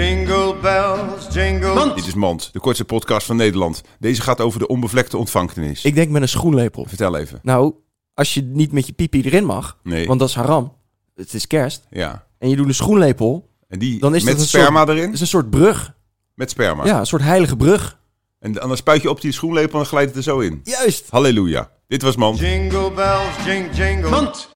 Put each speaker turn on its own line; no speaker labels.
Jingle bells, jingle...
Dit is Mand, de kortste podcast van Nederland. Deze gaat over de onbevlekte ontvanktenis.
Ik denk met een schoenlepel.
Vertel even.
Nou, als je niet met je pipi erin mag,
Nee.
want dat is haram. Het is kerst.
Ja.
En je doet een schoenlepel.
En die
Dan is
met
dat een
sperma
Het
erin?
is een soort brug.
Met sperma.
Ja, een soort heilige brug.
En dan spuit je op die schoenlepel en dan glijdt het er zo in.
Juist.
Halleluja. Dit was Mand.
Jingle bells, jing, jingle...